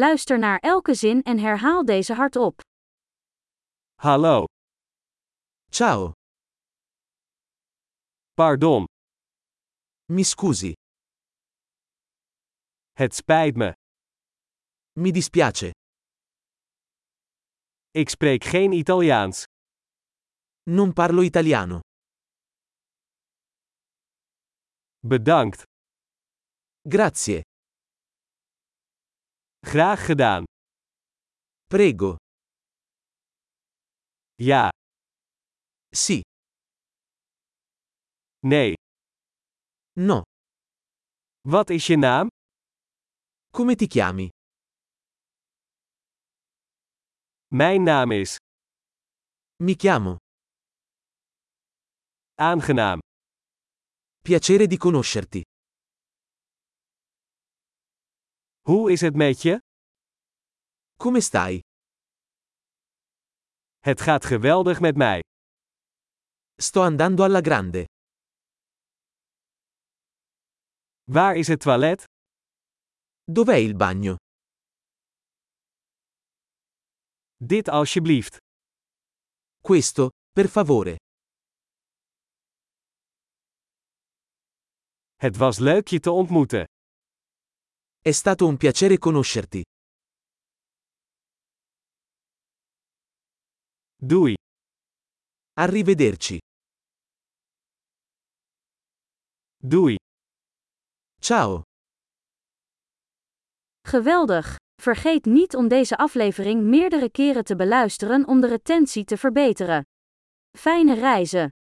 Luister naar elke zin en herhaal deze hardop. Hallo, Ciao, pardon, mi scusi, het spijt me. mi dispiace, Ik spreek geen Italiaans. non parlo italiano. Bedankt, Grazie, graag gedaan. prego, Ja, sì, nee. no, Wat is je naam? come ti chiami? Mijn naam is. Mi chiamo, Aangenaam. piacere di conoscerti. Hoe is het met je? Come stai? Het gaat geweldig met mij. Sto andando alla grande. Waar is het toilet? Dov'è il bagno? Dit alsjeblieft. Questo, per favore. Het was leuk je te ontmoeten. È stato un piacere conoscerti. Doei. Arrivederci. Doei. Ciao. Geweldig! Vergeet niet om deze aflevering meerdere keren te beluisteren om de retentie te verbeteren. Fijne reizen!